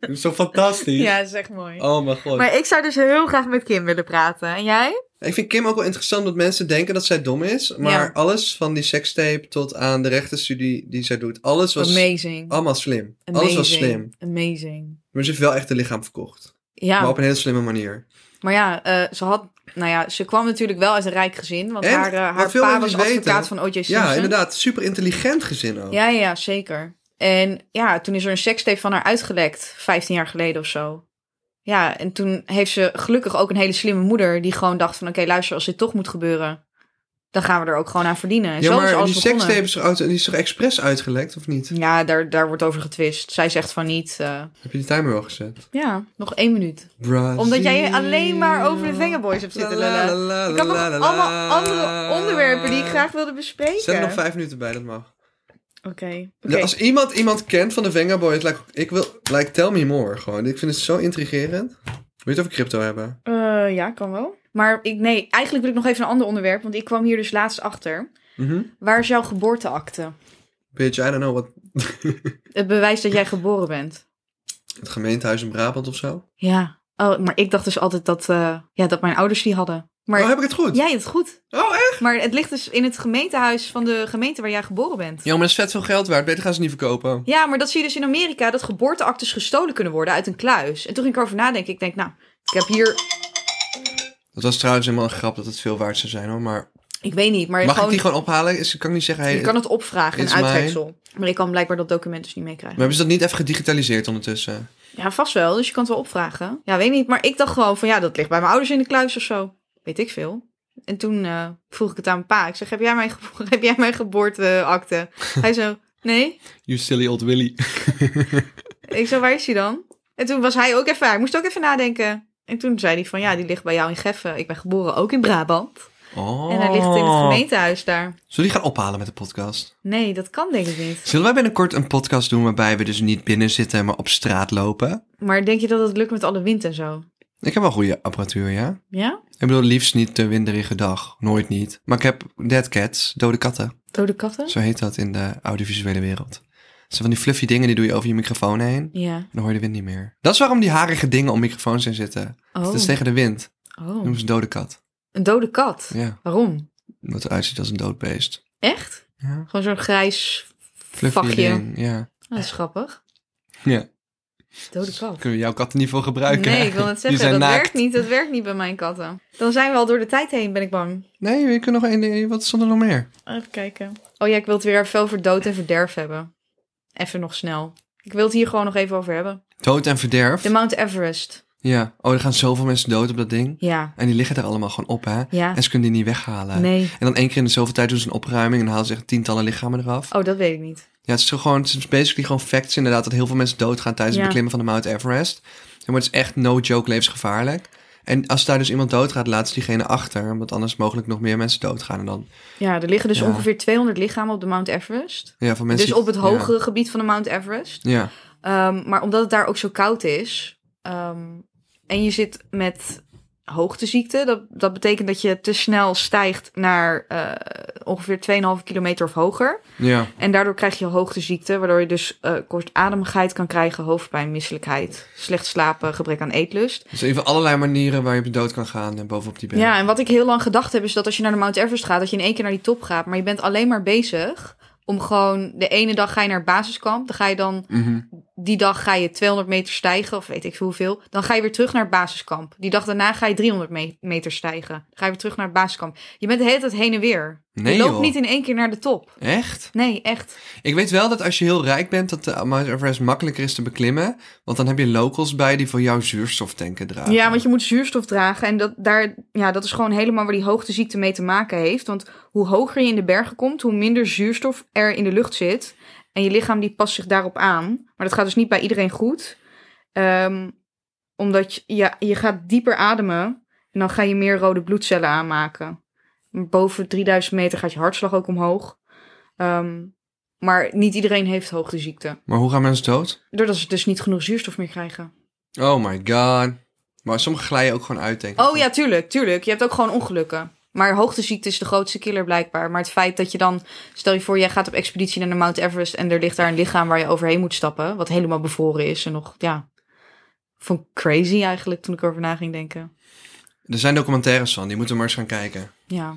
A: Dat is Zo fantastisch.
B: Ja, dat is echt mooi.
A: Oh mijn god.
B: Maar ik zou dus heel graag met Kim willen praten. En jij?
A: Ik vind Kim ook wel interessant dat mensen denken dat zij dom is. Maar
B: Ja.
A: alles van die sekstape tot aan de rechtenstudie die zij doet. Alles was
B: Amazing.
A: allemaal slim. Alles was slim.
B: Amazing.
A: Maar ze heeft wel echt een lichaam verkocht.
B: Ja,
A: Maar op een hele slimme manier.
B: maar ja, eh, ze had... Nou ja, ze kwam natuurlijk wel uit een rijk gezin. Want
A: En
B: haar, eh, haar
A: wat veel
B: pa was
A: mensen
B: advocaat
A: weten-
B: van O.J. Simpson.
A: Ja, inderdaad. Super intelligent gezin ook.
B: Ja, ja, ja, zeker. En ja, toen is er een sekstape van haar uitgelekt, 15 jaar geleden of zo. Ja, en toen heeft ze gelukkig ook een hele slimme moeder die gewoon dacht van... oké, luister, als dit toch moet gebeuren, dan gaan we er ook gewoon aan verdienen. En
A: Ja,
B: zo is
A: maar
B: alles
A: die
B: begonnen.
A: sekstape is, er uit- die is toch expres uitgelekt, of niet?
B: Ja, daar, daar wordt over getwist. Zij zegt van niet, eh,
A: Heb je die timer wel gezet?
B: ja, nog één minuut.
A: Brazil.
B: Omdat jij alleen maar over de Vengaboys hebt
A: La,
B: zitten
A: la, la,
B: lullen.
A: la,
B: Ik had nog
A: la, la,
B: allemaal
A: la.
B: andere onderwerpen die ik graag wilde bespreken.
A: Zet er nog vijf minuten bij, dat mag.
B: Oké,
A: Ja,
B: oké.
A: als iemand iemand kent van de Venga Boys, like, ik wil, like, tell me more. Gewoon. Ik vind het zo intrigerend. Wil je het over crypto hebben?
B: Eh, ja, kan wel. Maar ik, nee, eigenlijk wil ik nog even een ander onderwerp, want ik kwam hier dus laatst achter.
A: Mhm.
B: Waar is jouw geboorteakte?
A: Bitch, I don't know what.
B: Het bewijs dat jij geboren bent.
A: Het gemeentehuis in Brabant of zo.
B: Ja. Oh, maar ik dacht dus altijd dat, eh, ja, dat mijn ouders die hadden. Maar
A: oh, heb ik het goed?
B: jij het goed.
A: Oh, echt?
B: Maar het ligt dus in het gemeentehuis van de gemeente waar jij geboren bent.
A: Ja, maar dat is vet veel geld waard. Beter gaan ze niet verkopen.
B: Ja, maar dat zie je dus in Amerika, dat geboorteactes gestolen kunnen worden uit een kluis. En toen ging ik erover nadenken. Ik denk, nou, ik heb hier,
A: Dat was trouwens helemaal een grap dat het veel waard zou zijn hoor. Maar
B: ik weet niet, maar
A: mag
B: gewoon,
A: ik die gewoon ophalen? Is, kan ik niet zeggen. Hey,
B: je kan het opvragen in
A: It's mine.
B: uittreksel. Maar ik kan blijkbaar dat document dus niet meekrijgen.
A: Maar hebben ze dat niet even gedigitaliseerd ondertussen?
B: Ja, vast wel, dus je kan het wel opvragen. Ja, weet niet, maar ik dacht gewoon van, ja, dat ligt bij mijn ouders in de kluis of zo. Weet ik veel. En toen eh, vroeg ik het aan mijn pa. Ik zeg, heb jij mijn, gebo- heb jij mijn geboorteakte? Hij zo, nee.
A: You silly old Willy.
B: Ik zo, waar is hij dan? En toen was hij ook even, hij moest ook even nadenken. En toen zei hij van, ja, die ligt bij jou in Geffen. Ik ben geboren ook in Brabant.
A: Oh.
B: En hij ligt in het gemeentehuis daar.
A: Zullen die gaan ophalen met de podcast?
B: Nee, dat kan denk ik niet.
A: Zullen wij binnenkort een podcast doen waarbij we dus niet binnen zitten, maar op straat lopen?
B: Maar denk je dat het lukt met alle wind en zo?
A: Ik heb wel goede apparatuur, ja?
B: Ja?
A: Ik bedoel, liefst niet te winderige dag. Nooit niet. Maar ik heb dead cats, dode katten.
B: Dode katten?
A: Zo heet dat in de audiovisuele wereld. Dat zijn van die fluffy dingen, die doe je over je microfoon heen. En
B: Ja.
A: dan hoor je de wind niet meer. Dat is waarom die harige dingen om microfoons heen zitten.
B: Oh.
A: Dat is tegen de wind. Dat
B: oh.
A: noemen ze dode kat.
B: Een dode kat?
A: Ja,
B: Waarom?
A: omdat het eruit ziet als een dood beest.
B: Echt?
A: Ja.
B: Gewoon zo'n grijs
A: Fluffy
B: vakje. Ah,
A: ding, ja.
B: Dat is grappig.
A: Ja.
B: Dode kat.
A: Kunnen we jouw katten niet voor gebruiken?
B: Nee, ik wil
A: Die
B: het zeggen.
A: zijn
B: Dat
A: naakt.
B: werkt niet. Dat werkt niet bij mijn katten. Dan zijn we al door de tijd heen, ben ik bang.
A: Nee, je kunt nog één ding. Wat stond er nog meer?
B: Even kijken. Oh ja, ik wil het weer veel over dood en verderf hebben. Even nog snel. Ik wil het hier gewoon nog even over hebben.
A: Dood en verderf.
B: De Mount Everest.
A: Ja. Oh, er gaan zoveel mensen dood op dat ding.
B: Ja.
A: En die liggen daar allemaal gewoon op, hè?
B: Ja.
A: En ze kunnen die niet weghalen.
B: Nee.
A: En dan één keer in de zoveel tijd doen ze een opruiming en halen ze echt tientallen lichamen eraf.
B: Oh, dat weet ik niet.
A: Ja, het is zo gewoon, het is basically gewoon facts inderdaad dat heel veel mensen doodgaan tijdens het
B: Ja.
A: beklimmen van de Mount Everest. En maar het is echt no joke levensgevaarlijk. En als daar dus iemand doodgaat, laat ze diegene achter, omdat anders mogelijk nog meer mensen doodgaan. En dan,
B: Ja, er liggen dus
A: Ja.
B: ongeveer 200 lichamen op de Mount Everest.
A: ja, van mensen.
B: dus
A: die-
B: op het hogere gebied van de Mount Everest.
A: Ja. ja.
B: Ehm, maar omdat het daar ook zo koud is. ehm, en je zit met hoogteziekte. Dat, dat betekent dat je te snel stijgt naar eh, ongeveer 2,5 kilometer of hoger.
A: Ja.
B: En daardoor krijg je hoogteziekte. Waardoor je dus eh, kortademigheid kan krijgen, hoofdpijn, misselijkheid, slecht slapen, gebrek aan eetlust.
A: Dus even allerlei manieren waar je op dood kan gaan en bovenop die berg.
B: Ja, en wat ik heel lang gedacht heb, is dat als je naar de Mount Everest gaat, dat je in één keer naar die top gaat. Maar je bent alleen maar bezig om gewoon. De ene dag ga je naar het basiskamp. Dan ga je dan.
A: Mhm.
B: Die dag ga je 200 meter stijgen, of weet ik veel hoeveel. Dan ga je weer terug naar het basiskamp. Die dag daarna ga je 300 me- meter stijgen. Dan ga je weer terug naar het basiskamp. Je bent de hele tijd heen en weer.
A: Nee,
B: je loopt
A: joh.
B: niet in één keer naar de top.
A: Echt?
B: Nee, echt.
A: Ik weet wel dat als je heel rijk bent, dat de Mount Everest makkelijker is te beklimmen. Want dan heb je locals bij die voor jou zuurstoftanken dragen.
B: Ja, want je moet zuurstof dragen. En dat, daar, ja, dat is gewoon helemaal waar die hoogteziekte mee te maken heeft. Want hoe hoger je in de bergen komt, hoe minder zuurstof er in de lucht zit. En je lichaam die past zich daarop aan. Maar dat gaat dus niet bij iedereen goed. Ehm, omdat je, ja, je gaat dieper ademen. En dan ga je meer rode bloedcellen aanmaken. Boven 3000 meter gaat je hartslag ook omhoog. Ehm, maar niet iedereen heeft hoogteziekte.
A: Maar hoe gaan mensen dood?
B: Doordat ze dus niet genoeg zuurstof meer krijgen.
A: Oh my god. Maar sommigen glijden ook gewoon uit, denk ik.
B: Oh ja, tuurlijk, tuurlijk. Je hebt ook gewoon ongelukken. Maar hoogteziekte is de grootste killer blijkbaar. Maar het feit dat je dan... Stel je voor, jij gaat op expeditie naar de Mount Everest... en er ligt daar een lichaam waar je overheen moet stappen... wat helemaal bevroren is en nog... Ja, vond ik crazy eigenlijk toen ik erover na ging denken.
A: Er zijn documentaires van, die moeten we maar eens gaan kijken.
B: Ja.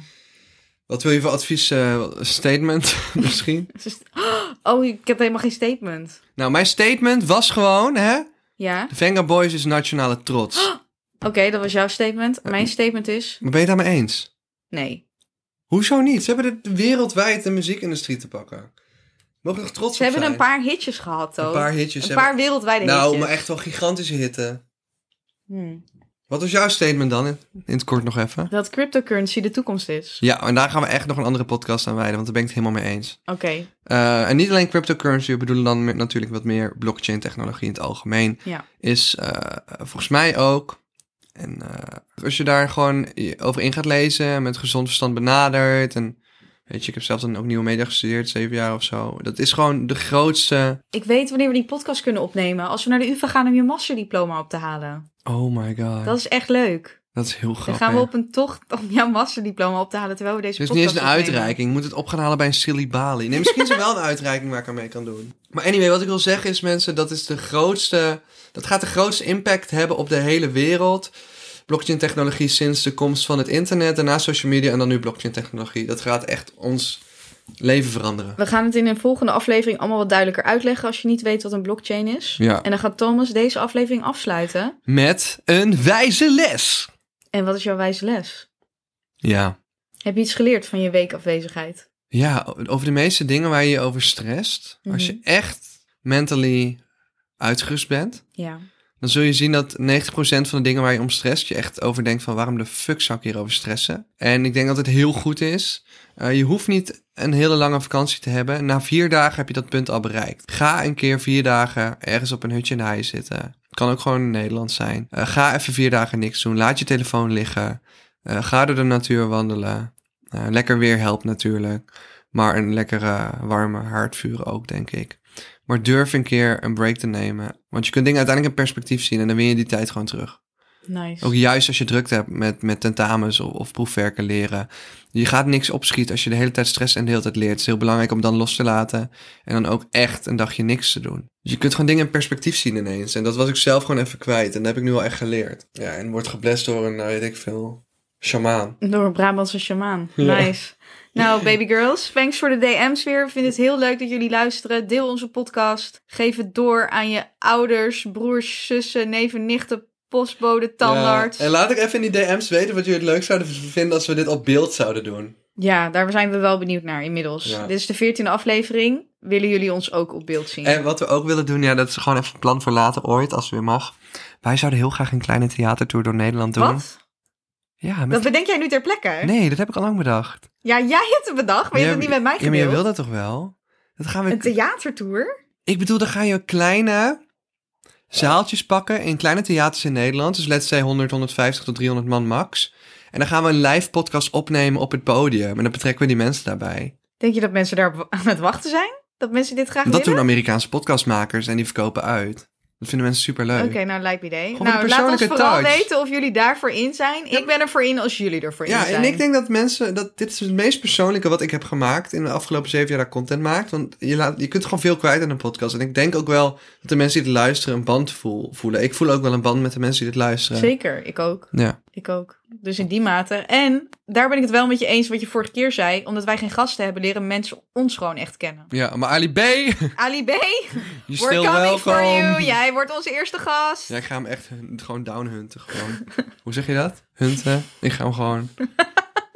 A: Wat wil je voor advies? eh, statement misschien?
B: Het is- Oh, ik heb helemaal geen statement.
A: Nou, mijn statement was gewoon, hè?
B: Ja.
A: De Venga Boys is nationale trots.
B: Oké, dat was jouw statement.
A: Eh,
B: Mijn statement is
A: Maar ben je het daarmee eens?
B: nee.
A: Hoezo niet? Ze hebben het wereldwijd de muziekindustrie te pakken. Mogen we nog trots
B: Ze
A: op
B: hebben een
A: zijn?
B: paar hitjes gehad, toch?
A: Een paar hitjes
B: Een
A: hebben-
B: paar wereldwijde
A: Nou,
B: hitjes.
A: maar echt wel gigantische hitten.
B: Hmm.
A: Wat was jouw statement dan? In in het kort nog even.
B: Dat cryptocurrency de toekomst is.
A: Ja, en daar gaan we echt nog een andere podcast aan wijden, want daar ben ik het helemaal mee eens.
B: Oké,
A: Eh, en niet alleen cryptocurrency, we bedoelen dan met- natuurlijk wat meer blockchain-technologie in het algemeen.
B: ja.
A: Is eh, volgens mij ook. En eh, als je daar gewoon je over in gaat lezen, met gezond verstand benadert. En weet je, ik heb zelf dan ook nieuwe media gestudeerd, zeven jaar of zo. Dat is gewoon de grootste.
B: Ik weet wanneer we die podcast kunnen opnemen. Als we naar de UvA gaan om je masterdiploma op te halen.
A: Oh my god.
B: Dat is echt leuk.
A: Dat is heel
B: Dan
A: grappig.
B: gaan we op een tocht om jouw masterdiploma op te halen terwijl we deze
A: Het is niet
B: podcast
A: eens een
B: opnemen.
A: uitreiking. Je moet het op gaan halen bij een silly balie. Nee, misschien is er wel een uitreiking waar ik aan mee kan doen. Maar anyway, wat ik wil zeggen is mensen, dat is de grootste... Dat gaat de grootste impact hebben op de hele wereld. Blockchain technologie sinds de komst van het internet. Daarna social media en dan nu blockchain technologie. Dat gaat echt ons leven veranderen.
B: We gaan het in een volgende aflevering allemaal wat duidelijker uitleggen als je niet weet wat een blockchain is.
A: Ja.
B: En dan gaat Thomas deze aflevering afsluiten.
A: Met een wijze les.
B: En wat is jouw wijze les?
A: Ja.
B: Heb je iets geleerd van je weekafwezigheid?
A: Ja, o- over de meeste dingen waar je je over strest. Als je echt mentally uitgerust bent...
B: Ja.
A: dan zul je zien dat 90% van de dingen waar je om stress, je echt over denkt van waarom de fuck zou ik hierover stressen? En ik denk dat het heel goed is. Eh, je hoeft niet een hele lange vakantie te hebben. Na vier dagen heb je dat punt al bereikt. Ga een keer vier dagen ergens op een hutje in de hei zitten. Kan ook gewoon in Nederland zijn. Eh, ga even vier dagen niks doen. Laat je telefoon liggen. Eh, ga door de natuur wandelen. Eh, lekker weer helpt natuurlijk. Maar een lekkere warme haardvuur ook, denk ik. Maar durf een keer een break te nemen. Want je kunt dingen uiteindelijk in perspectief zien en dan win je die tijd gewoon terug.
B: Nice.
A: Ook juist als je drukte hebt met, met tentamens of, of proefwerken leren. Je gaat niks opschieten als je de hele tijd stress en de hele tijd leert. Het is heel belangrijk om dan los te laten en dan ook echt een dagje niks te doen. Dus je kunt gewoon dingen in perspectief zien ineens. En dat was ik zelf gewoon even kwijt en dat heb ik nu al echt geleerd. Ja, en wordt geblest door een, nou, weet ik veel, shamaan.
B: Door een Brabantse shamaan.
A: Ja.
B: Nice. Nou, baby girls, thanks voor de DM's weer. We vinden het heel leuk dat jullie luisteren. Deel onze podcast. Geef het door aan je ouders, broers, zussen, neven, nichten, postbode, tandarts.
A: Ja, en laat ik even in die DM's weten wat jullie het leuk zouden vinden als we dit op beeld zouden doen.
B: Ja, daar zijn we wel benieuwd naar inmiddels.
A: Ja.
B: Dit is de veertiende aflevering. Willen jullie ons ook op beeld zien?
A: En wat we ook willen doen, ja, dat is gewoon even een plan voor later ooit, als het weer mag. Wij zouden heel graag een kleine theatertour door Nederland doen.
B: Wat?
A: Ja, met...
B: Dat bedenk jij nu ter plekke?
A: nee, dat heb ik al lang bedacht.
B: Ja, jij hebt het bedacht, maar je
A: Ja,
B: hebt het niet met mij
A: Ja, maar
B: gedeeld.
A: je wil dat toch wel? Dat gaan we...
B: Een theatertour?
A: Ik bedoel, dan ga je kleine zaaltjes pakken in kleine theaters in Nederland. Dus let's say 100, 150 tot 300 man max. En dan gaan we een live podcast opnemen op het podium. En dan betrekken we die mensen daarbij.
B: Denk je dat mensen daar op- aan het wachten zijn? Dat mensen dit graag
A: Dat
B: willen?
A: doen Amerikaanse podcastmakers en die verkopen uit. Dat vinden mensen superleuk.
B: Oké, nou lijkt me idee.
A: Gewoon
B: nou,
A: een
B: laat ons
A: persoonlijke
B: vooral
A: touch.
B: weten of jullie daarvoor in zijn. Ik ben ervoor in als jullie ervoor in
A: Ja,
B: zijn.
A: en ik denk dat mensen, dat dit is het meest persoonlijke wat ik heb gemaakt in de afgelopen zeven jaar dat ik content maakt. Want je, laat, je kunt gewoon veel kwijt aan een podcast. En ik denk ook wel dat de mensen die het luisteren een band voel- voelen. Ik voel ook wel een band met de mensen die dit luisteren.
B: Zeker, ik ook.
A: Ja.
B: Ik ook. Dus in die mate. En daar ben ik het wel met je eens wat je vorige keer zei. Omdat wij geen gasten hebben, leren mensen ons gewoon echt kennen.
A: ja, maar Ali B, je
B: Ali B, we're
A: still
B: coming for you.
A: welcome.
B: Jij wordt onze eerste gast.
A: Ja, ik ga hem echt hun- gewoon downhunten. Gewoon. Hoe zeg je dat? Hunten? Ik ga hem gewoon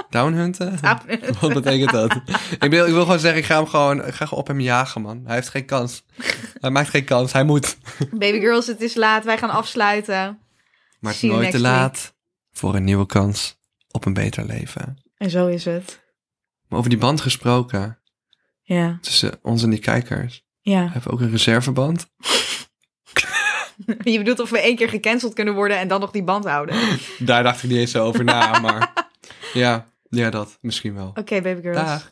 A: downhunten?
B: Ah,
A: Wat betekent dat? ik, wil, ik wil gewoon zeggen, ik ga hem gewoon, ik ga gewoon op hem jagen, man. Hij heeft geen kans. Hij maakt geen kans, hij moet.
B: Baby girls, het is laat. Wij gaan afsluiten.
A: Maar het
B: See
A: is
B: you
A: nooit te
B: next
A: laat voor een nieuwe kans op een beter leven.
B: En zo is het.
A: Maar over die band gesproken
B: Ja,
A: tussen ons en die kijkers.
B: ja.
A: Hebben we ook een reserveband?
B: Je bedoelt of we één keer gecanceld kunnen worden en dan nog die band houden. Oké,
A: Daar dacht ik niet eens over na, maar ja, ja, dat misschien wel.
B: baby girls.
A: Dag.